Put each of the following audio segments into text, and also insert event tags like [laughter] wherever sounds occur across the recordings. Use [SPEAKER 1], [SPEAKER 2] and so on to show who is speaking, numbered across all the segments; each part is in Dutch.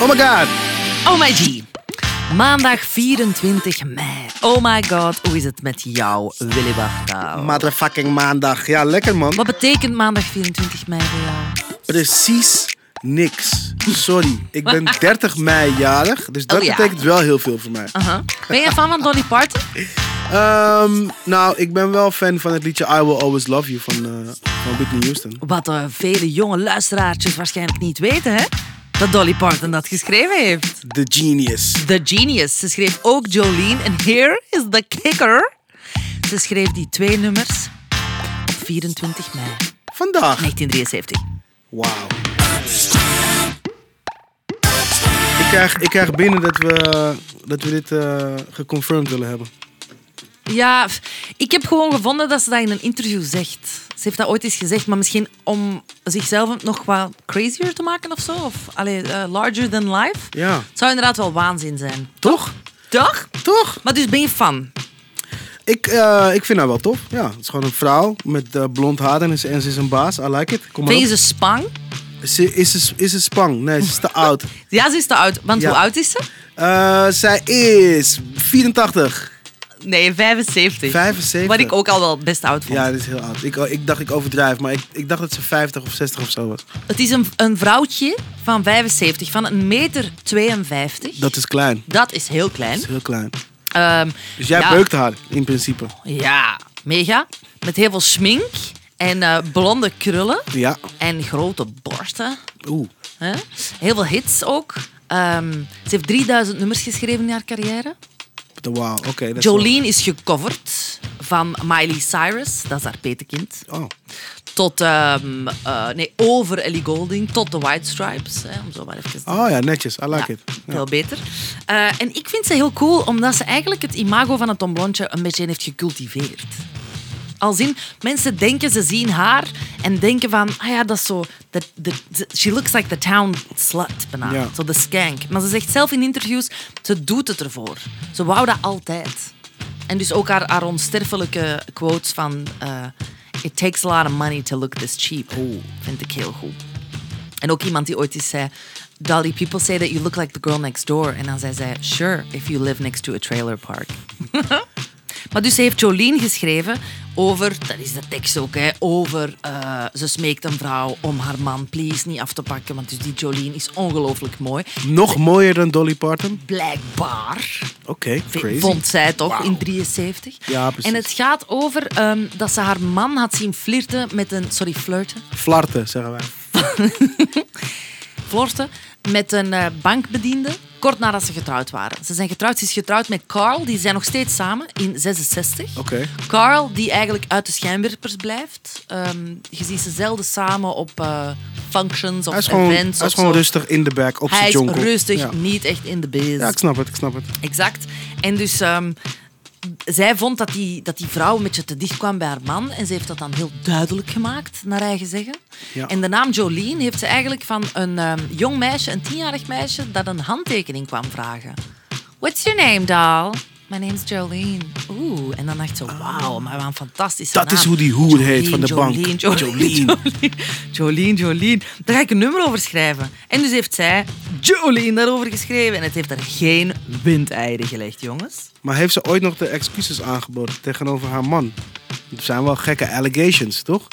[SPEAKER 1] Oh my god.
[SPEAKER 2] Oh my G. Maandag 24 mei. Oh my god, hoe is het met jou, Willy Wartaal?
[SPEAKER 1] Motherfucking maandag. Ja, lekker man.
[SPEAKER 2] Wat betekent maandag 24 mei voor jou?
[SPEAKER 1] Precies niks. Sorry, ik ben 30 mei jarig, dus dat
[SPEAKER 2] Oh, ja. Ah.
[SPEAKER 1] betekent wel heel veel voor mij.
[SPEAKER 2] Aha. Ben je fan van Dolly Parton?
[SPEAKER 1] Ehm, nou, ik ben wel fan van het liedje I Will Always Love You van, eh, van Whitney Houston.
[SPEAKER 2] Wat eh, vele jonge luisteraartjes waarschijnlijk niet weten, hè? Dat Dolly Parton dat geschreven heeft.
[SPEAKER 1] The Genius.
[SPEAKER 2] The Genius. Ze schreef ook Jolene. En here is the kicker. Ze schreef die twee nummers op 24 mei
[SPEAKER 1] Vandaag.
[SPEAKER 2] 1973.
[SPEAKER 1] Wauw. Ik krijg, ik krijg binnen dat we, dat we dit eh, geconfirmed willen hebben.
[SPEAKER 2] Ja, f- ik heb gewoon gevonden dat ze dat in een interview zegt. Ze heeft dat ooit eens gezegd, maar misschien om zichzelf nog wat crazier te maken of zo. Of allee, eh, larger than life.
[SPEAKER 1] Ja.
[SPEAKER 2] Het zou inderdaad wel waanzin zijn.
[SPEAKER 1] Toch?
[SPEAKER 2] Toch?
[SPEAKER 1] Toch?
[SPEAKER 2] Maar dus ben je fan?
[SPEAKER 1] Ik, eh, ik vind haar wel tof. Ja, het is gewoon een vrouw met eh, blond haar en, ze- en ze is een baas. I like it. Kom maar
[SPEAKER 2] Ben je
[SPEAKER 1] op.
[SPEAKER 2] ze spang?
[SPEAKER 1] Ze is, een- is een spang. Nee, ze is
[SPEAKER 2] [laughs]
[SPEAKER 1] te oud.
[SPEAKER 2] Ja, ze is te oud. Want
[SPEAKER 1] Ja.
[SPEAKER 2] hoe oud is ze?
[SPEAKER 1] Eh, zij is 84.
[SPEAKER 2] Nee, 75.
[SPEAKER 1] 75.
[SPEAKER 2] Wat ik ook al wel best oud vond.
[SPEAKER 1] Ja, dat is heel oud. Ik, oh, ik dacht ik overdrijf, maar ik, ik dacht dat ze 50 of 60 of zo was.
[SPEAKER 2] Het is een, een vrouwtje van 75, van 1,52 meter. 52.
[SPEAKER 1] Dat is klein.
[SPEAKER 2] Dat is heel
[SPEAKER 1] Dat
[SPEAKER 2] klein.
[SPEAKER 1] is heel klein.
[SPEAKER 2] Ehm,
[SPEAKER 1] Dus jij
[SPEAKER 2] ja,
[SPEAKER 1] beukt haar in principe.
[SPEAKER 2] Ja, mega. Met heel veel smink en eh, blonde krullen
[SPEAKER 1] Ja.
[SPEAKER 2] en grote borsten.
[SPEAKER 1] Oeh.
[SPEAKER 2] Hè? Heel veel hits ook. Ehm, ze heeft 3000 nummers geschreven in haar carrière.
[SPEAKER 1] Wauw, oké. dat is wel-
[SPEAKER 2] Jolene is gecoverd van Miley Cyrus, dat is haar petekind.
[SPEAKER 1] Oh,
[SPEAKER 2] Tot, ehm, eh, nee, over Ellie Golding, tot de White Stripes. Hè, om zo maar even te
[SPEAKER 1] oh ja, netjes. I like
[SPEAKER 2] ja,
[SPEAKER 1] it. Ja.
[SPEAKER 2] Veel beter. Eh, en ik vind ze heel cool, omdat ze eigenlijk het imago van het tomblondje een beetje heeft gecultiveerd. Als in, mensen denken, ze zien haar en denken van, ah ja, dat is zo, dat dat- ze- she looks like the town slut, bijna.
[SPEAKER 1] Ja.
[SPEAKER 2] Zo de skank. Maar ze zegt zelf in interviews, ze doet het ervoor. Ze wou dat altijd. En dus ook haar, haar onsterfelijke quotes van, eh, it takes a lot of money to look this cheap. Oh, vind ik heel goed. En ook iemand die ooit eens zei... Dolly, people say that you look like the girl next door. En dan zei zij... Sure, if you live next to a trailer park. maar dus ze heeft Jolene geschreven over... Dat is de tekst ook, hè. Over... eh, ze smeekt een vrouw om haar man please niet af te pakken. Want dus die Jolene is ongelooflijk mooi.
[SPEAKER 1] Nog mooier dan Dolly Parton?
[SPEAKER 2] Blijkbaar
[SPEAKER 1] Oké, crazy.
[SPEAKER 2] vond zij toch in 73.
[SPEAKER 1] Ja, precies.
[SPEAKER 2] En het gaat over ehm, dat ze haar man had zien flirten met een... Sorry, flirten.
[SPEAKER 1] Flarten, zeggen wij.
[SPEAKER 2] flirten met een eh, bankbediende kort nadat ze getrouwd waren. Ze zijn getrouwd, ze is getrouwd met Carl, die zijn nog steeds samen in 66.
[SPEAKER 1] Oké.
[SPEAKER 2] Carl, die eigenlijk uit de schijnwerpers blijft. Ehm, je ziet ze zelden samen op eh, functions of
[SPEAKER 1] Hij is gewoon, hij
[SPEAKER 2] events.
[SPEAKER 1] is
[SPEAKER 2] of zo.
[SPEAKER 1] gewoon rustig in de back op
[SPEAKER 2] Hij
[SPEAKER 1] zijn
[SPEAKER 2] is
[SPEAKER 1] jonkel.
[SPEAKER 2] rustig,
[SPEAKER 1] Ja.
[SPEAKER 2] niet echt in de biz.
[SPEAKER 1] ja, ik snap het, ik snap het.
[SPEAKER 2] Exact. En dus ehm, zij vond dat die, dat die vrouw een beetje te dicht kwam bij haar man. En ze heeft dat dan heel duidelijk gemaakt, naar eigen zeggen.
[SPEAKER 1] Ja.
[SPEAKER 2] En de naam Jolene heeft ze eigenlijk van een ehm, jong meisje, een tienjarig meisje, dat een handtekening kwam vragen. What's your name, doll? My name's Jolene. Oeh, en dan dacht ze, wauw, maar wat een fantastische
[SPEAKER 1] Dat
[SPEAKER 2] naam.
[SPEAKER 1] is hoe die hoer heet van de bank.
[SPEAKER 2] Jolene, Jolene, Jolene, Jolene, Jolene. Daar ga ik een nummer over schrijven. En dus heeft zij Jolene daarover geschreven. En het heeft er geen windeieren gelegd, jongens.
[SPEAKER 1] Maar heeft ze ooit nog de excuses aangeboden tegenover haar man? Er zijn wel gekke allegations, toch?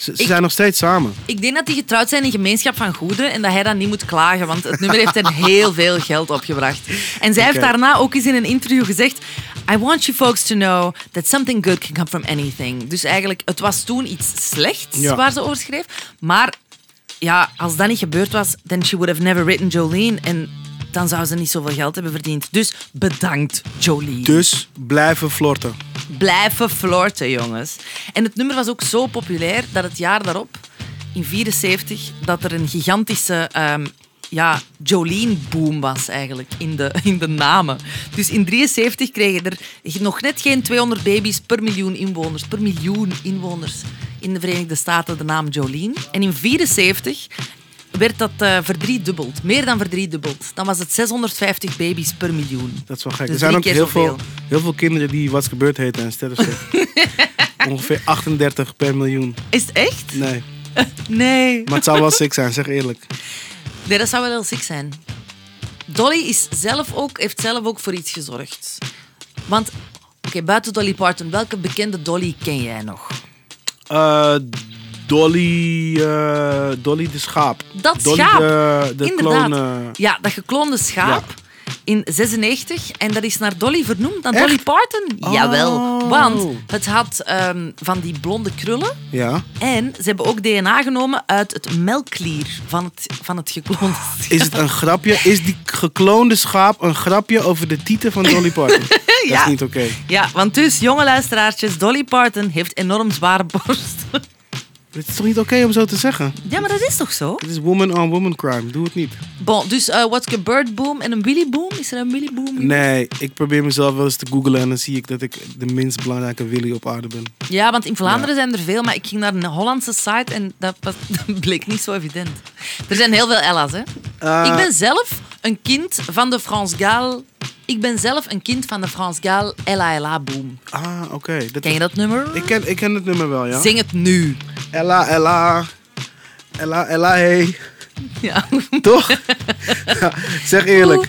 [SPEAKER 1] Ze, ze
[SPEAKER 2] Ik-
[SPEAKER 1] zijn nog steeds samen.
[SPEAKER 2] Ik denk dat die getrouwd zijn in gemeenschap van goederen en dat hij dan niet moet klagen, want het nummer
[SPEAKER 1] [laughs]
[SPEAKER 2] heeft hen heel veel geld opgebracht. En zij heeft
[SPEAKER 1] Oké.
[SPEAKER 2] daarna ook eens in een interview gezegd: I want you folks to know that something good can come from anything. Dus eigenlijk, het was toen iets slechts
[SPEAKER 1] Ja.
[SPEAKER 2] waar ze over schreef, maar ja, als dat niet gebeurd was, then she would have never written Jolene en dan zou ze niet zoveel geld hebben verdiend. Dus bedankt, Jolene
[SPEAKER 1] Dus blijven flirten.
[SPEAKER 2] blijven flirten, jongens. En het nummer was ook zo populair dat het jaar daarop, in 74, dat er een gigantische ehm, ja, Jolene-boom was eigenlijk in de, [laughs] in de namen. Dus in 73 kregen er nog net geen 200 baby's per miljoen inwoners, per miljoen inwoners in de Verenigde Staten de naam Jolene. En in 74 werd dat eh, verdriedubbeld, meer dan verdriedubbeld. Dan was het 650 baby's per miljoen.
[SPEAKER 1] Dat is wel gek. er
[SPEAKER 2] Dus
[SPEAKER 1] zijn
[SPEAKER 2] drie
[SPEAKER 1] ook
[SPEAKER 2] keer
[SPEAKER 1] heel veel,
[SPEAKER 2] zoveel.
[SPEAKER 1] heel veel kinderen die wat gebeurd heten en sterren
[SPEAKER 2] [laughs]
[SPEAKER 1] zijn. Ongeveer 38 per miljoen.
[SPEAKER 2] Is het echt?
[SPEAKER 1] Nee.
[SPEAKER 2] Nee.
[SPEAKER 1] Maar het zou wel sick zijn, zeg eerlijk.
[SPEAKER 2] Nee, dat zou wel heel sick zijn. Dolly is zelf ook, heeft zelf ook voor iets gezorgd. Want, oké, buiten Dolly Parton, welke bekende Dolly ken jij nog?
[SPEAKER 1] Eh, Dolly, eh, Dolly de schaap.
[SPEAKER 2] Dat
[SPEAKER 1] Dolly
[SPEAKER 2] schaap.
[SPEAKER 1] De, de
[SPEAKER 2] Inderdaad.
[SPEAKER 1] kloon, eh,
[SPEAKER 2] Ja, dat gekloonde schaap. In 96 en dat is naar Dolly vernoemd, naar Dolly
[SPEAKER 1] Echt?
[SPEAKER 2] Parton.
[SPEAKER 1] Oh.
[SPEAKER 2] Jawel, want het had ehm, van die blonde krullen
[SPEAKER 1] ja.
[SPEAKER 2] en ze hebben ook DNA genomen uit het melkklier van het, van het gekloonde [laughs] schaap.
[SPEAKER 1] Is het een grapje? Is die gekloonde schaap een grapje over de titel van Dolly Parton? Dat
[SPEAKER 2] [laughs] Ja.
[SPEAKER 1] is niet oké.
[SPEAKER 2] Ja, want dus, jonge luisteraartjes, Dolly Parton heeft enorm zware borsten.
[SPEAKER 1] Het is toch niet oké om zo te zeggen?
[SPEAKER 2] Ja, maar dat is toch zo?
[SPEAKER 1] Het is woman-on-woman crime. Doe het niet.
[SPEAKER 2] Bon, dus eh what's a bird boom en een willy boom? Is er een willy boom?
[SPEAKER 1] Nee, ik probeer mezelf wel eens te googlen en dan zie ik dat ik de minst belangrijke Willy op aarde ben.
[SPEAKER 2] Ja, want in Vlaanderen zijn er veel, maar ik ging naar een Hollandse site en dat, was- [laughs] dat bleek niet zo evident. Er zijn heel veel Ella's, hè?
[SPEAKER 1] Eh,
[SPEAKER 2] ik ben zelf een kind van de Frans Gaal. Ik ben zelf een kind van de Frans Gaal Ella Ella Boom.
[SPEAKER 1] Ah, oké. Dat-
[SPEAKER 2] Ken je dat nummer?
[SPEAKER 1] Ik ken, ik ken het nummer wel, ja.
[SPEAKER 2] Zing het nu.
[SPEAKER 1] Ella, Ella. Ella, Ella, hey.
[SPEAKER 2] Ja.
[SPEAKER 1] [laughs]
[SPEAKER 2] [laughs]
[SPEAKER 1] Toch? Ja, zeg eerlijk.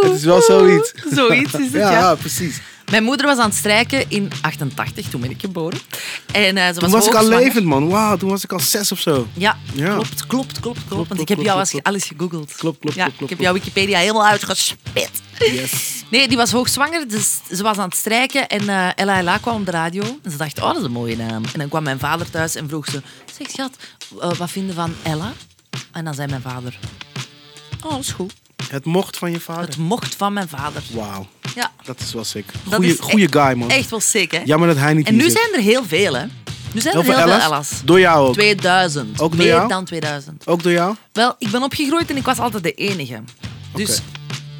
[SPEAKER 1] Het is wel zoiets.
[SPEAKER 2] [laughs] Zoiets is het, ja.
[SPEAKER 1] ja, precies.
[SPEAKER 2] Mijn moeder was aan het strijken in 88, toen ben ik geboren. En, eh, ze
[SPEAKER 1] Toen was ik
[SPEAKER 2] ook
[SPEAKER 1] al
[SPEAKER 2] zwanger.
[SPEAKER 1] levend, man. Wauw, toen was ik al zes of zo.
[SPEAKER 2] Ja,
[SPEAKER 1] Ja.
[SPEAKER 2] Klopt, klopt, klopt, klopt,
[SPEAKER 1] Klopt,
[SPEAKER 2] Want ik
[SPEAKER 1] klopt,
[SPEAKER 2] heb jou
[SPEAKER 1] klopt,
[SPEAKER 2] alles,
[SPEAKER 1] klopt.
[SPEAKER 2] alles gegoogeld.
[SPEAKER 1] Klopt, klopt,
[SPEAKER 2] ja,
[SPEAKER 1] klopt, klopt,
[SPEAKER 2] Ik heb jouw Wikipedia helemaal uitgespit.
[SPEAKER 1] Yes.
[SPEAKER 2] Nee, die was hoogzwanger, dus ze was aan het strijken. En eh Ella Ella kwam op de radio. En ze dacht, oh, dat is een mooie naam. En dan kwam mijn vader thuis en vroeg ze... Zeg, schat, eh, wat vinden van Ella? En dan zei mijn vader... Oh, dat is goed.
[SPEAKER 1] Het mocht van je vader.
[SPEAKER 2] Het mocht van mijn vader.
[SPEAKER 1] Wauw,
[SPEAKER 2] Ja,
[SPEAKER 1] dat is wel sick.
[SPEAKER 2] dat
[SPEAKER 1] Goeie,
[SPEAKER 2] is
[SPEAKER 1] goeie
[SPEAKER 2] echt-
[SPEAKER 1] guy, man.
[SPEAKER 2] Echt wel sick, hè?
[SPEAKER 1] Jammer dat hij niet
[SPEAKER 2] en
[SPEAKER 1] hier
[SPEAKER 2] nu
[SPEAKER 1] zit.
[SPEAKER 2] zijn er heel veel, hè? Nu zijn er heel veel Ella's.
[SPEAKER 1] Door jou ook.
[SPEAKER 2] 2000.
[SPEAKER 1] Ook door
[SPEAKER 2] Meer
[SPEAKER 1] jou?
[SPEAKER 2] dan 2000.
[SPEAKER 1] Ook door jou?
[SPEAKER 2] Wel, ik ben opgegroeid en ik was altijd de enige. Dus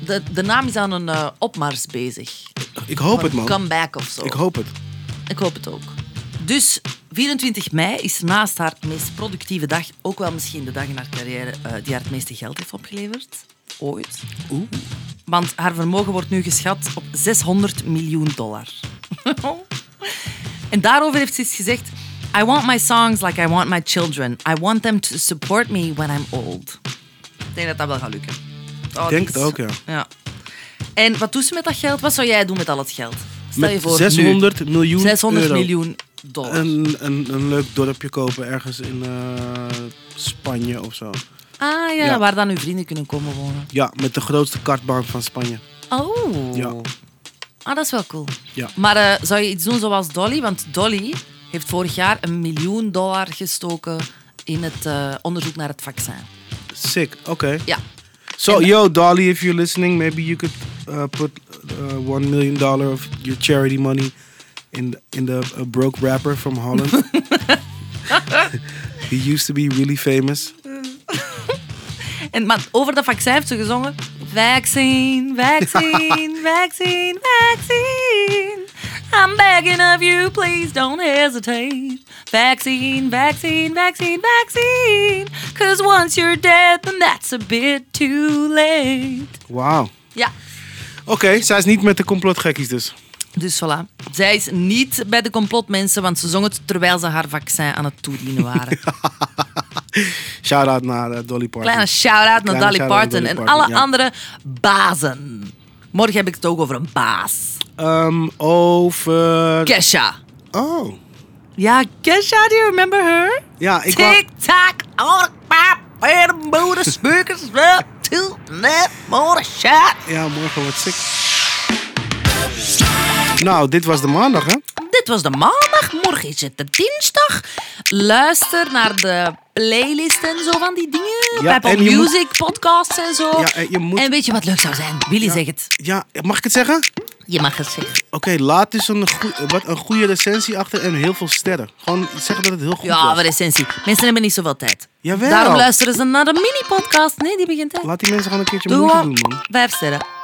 [SPEAKER 2] de, de naam is aan een eh, opmars bezig.
[SPEAKER 1] Ik hoop
[SPEAKER 2] Van
[SPEAKER 1] het, man.
[SPEAKER 2] Comeback of zo.
[SPEAKER 1] Ik hoop het.
[SPEAKER 2] Ik hoop het ook. Dus 24 mei is naast haar meest productieve dag ook wel misschien de dag in haar carrière eh, die haar het meeste geld heeft opgeleverd. Ooit.
[SPEAKER 1] Oeh.
[SPEAKER 2] Want haar vermogen wordt nu geschat op 600 miljoen dollar. [laughs] en daarover heeft ze iets gezegd. I want my songs like I want my children. I want them to support me when I'm old. Ik denk dat dat wel gaat lukken. Oh, die
[SPEAKER 1] denk
[SPEAKER 2] is-
[SPEAKER 1] het ook, ja.
[SPEAKER 2] ja. En wat doet ze met dat geld? Wat zou jij doen met al het geld? Stel je
[SPEAKER 1] Met
[SPEAKER 2] voor, nu.
[SPEAKER 1] 600 miljoen
[SPEAKER 2] 600
[SPEAKER 1] euro. Ehm,
[SPEAKER 2] miljoen dollar.
[SPEAKER 1] Een, een, een leuk dorpje kopen ergens in eh, Spanje of zo.
[SPEAKER 2] ah ja,
[SPEAKER 1] ja.
[SPEAKER 2] waar dan uw vrienden kunnen komen wonen.
[SPEAKER 1] Ja, met de grootste kartbaan van Spanje.
[SPEAKER 2] Oh.
[SPEAKER 1] Ja.
[SPEAKER 2] Ah, dat is wel cool.
[SPEAKER 1] Ja.
[SPEAKER 2] Maar eh, zou je iets doen zoals Dolly? Want Dolly heeft vorig jaar een miljoen dollar gestoken in het eh, onderzoek naar het vaccin.
[SPEAKER 1] Sick, oké.
[SPEAKER 2] Ja.
[SPEAKER 1] So, yo, Dolly, if you're listening, maybe you could uh, put uh, one million dollar of your charity money in the, in the a broke rapper from Holland.
[SPEAKER 2] [laughs]
[SPEAKER 1] He used to be really famous.
[SPEAKER 2] En, maar over dat vaccin heeft ze gezongen... Vaccine,
[SPEAKER 1] [laughs]
[SPEAKER 2] vaccine, vaccine, vaccine. I'm begging of you, please don't hesitate. Vaccine, vaccine, vaccine, vaccine. Cause once you're dead, then that's a bit too late.
[SPEAKER 1] Wauw.
[SPEAKER 2] Ja,
[SPEAKER 1] Oké, zij is niet met de complotgekkies dus.
[SPEAKER 2] Dus voilà. Zij is niet bij de complotmensen, want ze zong het terwijl ze haar vaccin aan het toedienen
[SPEAKER 1] [laughs]
[SPEAKER 2] waren.
[SPEAKER 1] Shout-out naar eh, Dolly Parton.
[SPEAKER 2] Kleine shout-out naar
[SPEAKER 1] Kleine
[SPEAKER 2] Dolly
[SPEAKER 1] shout-out naar
[SPEAKER 2] Parton
[SPEAKER 1] Dolly
[SPEAKER 2] en
[SPEAKER 1] Parton,
[SPEAKER 2] alle
[SPEAKER 1] ja.
[SPEAKER 2] andere bazen. Morgen heb ik het ook over een baas.
[SPEAKER 1] Ehm, over...
[SPEAKER 2] Kesha.
[SPEAKER 1] Oh.
[SPEAKER 2] Ja, Kesha, do you remember her?
[SPEAKER 1] Ja, ik wou-
[SPEAKER 2] Tik-tak, on pap, en moeder, speakers, up to net, moeder, shot.
[SPEAKER 1] Ja, morgen wordt sick. Nou, dit was de maandag, hè?
[SPEAKER 2] Dit was de maandag, morgen is het de dinsdag. Luister naar de playlist en zo van die dingen.
[SPEAKER 1] Ja,
[SPEAKER 2] Apple
[SPEAKER 1] en je moet-
[SPEAKER 2] Music, podcasts en zo.
[SPEAKER 1] Ja, en je moet-
[SPEAKER 2] En weet je wat leuk zou zijn? Willy zegt het.
[SPEAKER 1] Ja, mag ik het zeggen?
[SPEAKER 2] Je mag het zeggen.
[SPEAKER 1] Oké, laat dus een, goe- wat, een goede recensie achter en heel veel sterren. Gewoon zeggen dat het heel goed
[SPEAKER 2] Ja,
[SPEAKER 1] was.
[SPEAKER 2] maar essentie. Mensen hebben niet zoveel tijd.
[SPEAKER 1] Jawel.
[SPEAKER 2] Daarom luisteren ze naar de mini-podcast. Nee, die begint echt.
[SPEAKER 1] Laat die mensen gewoon een keertje
[SPEAKER 2] Doe
[SPEAKER 1] moeite
[SPEAKER 2] gewoon
[SPEAKER 1] doen, man.
[SPEAKER 2] vijf sterren.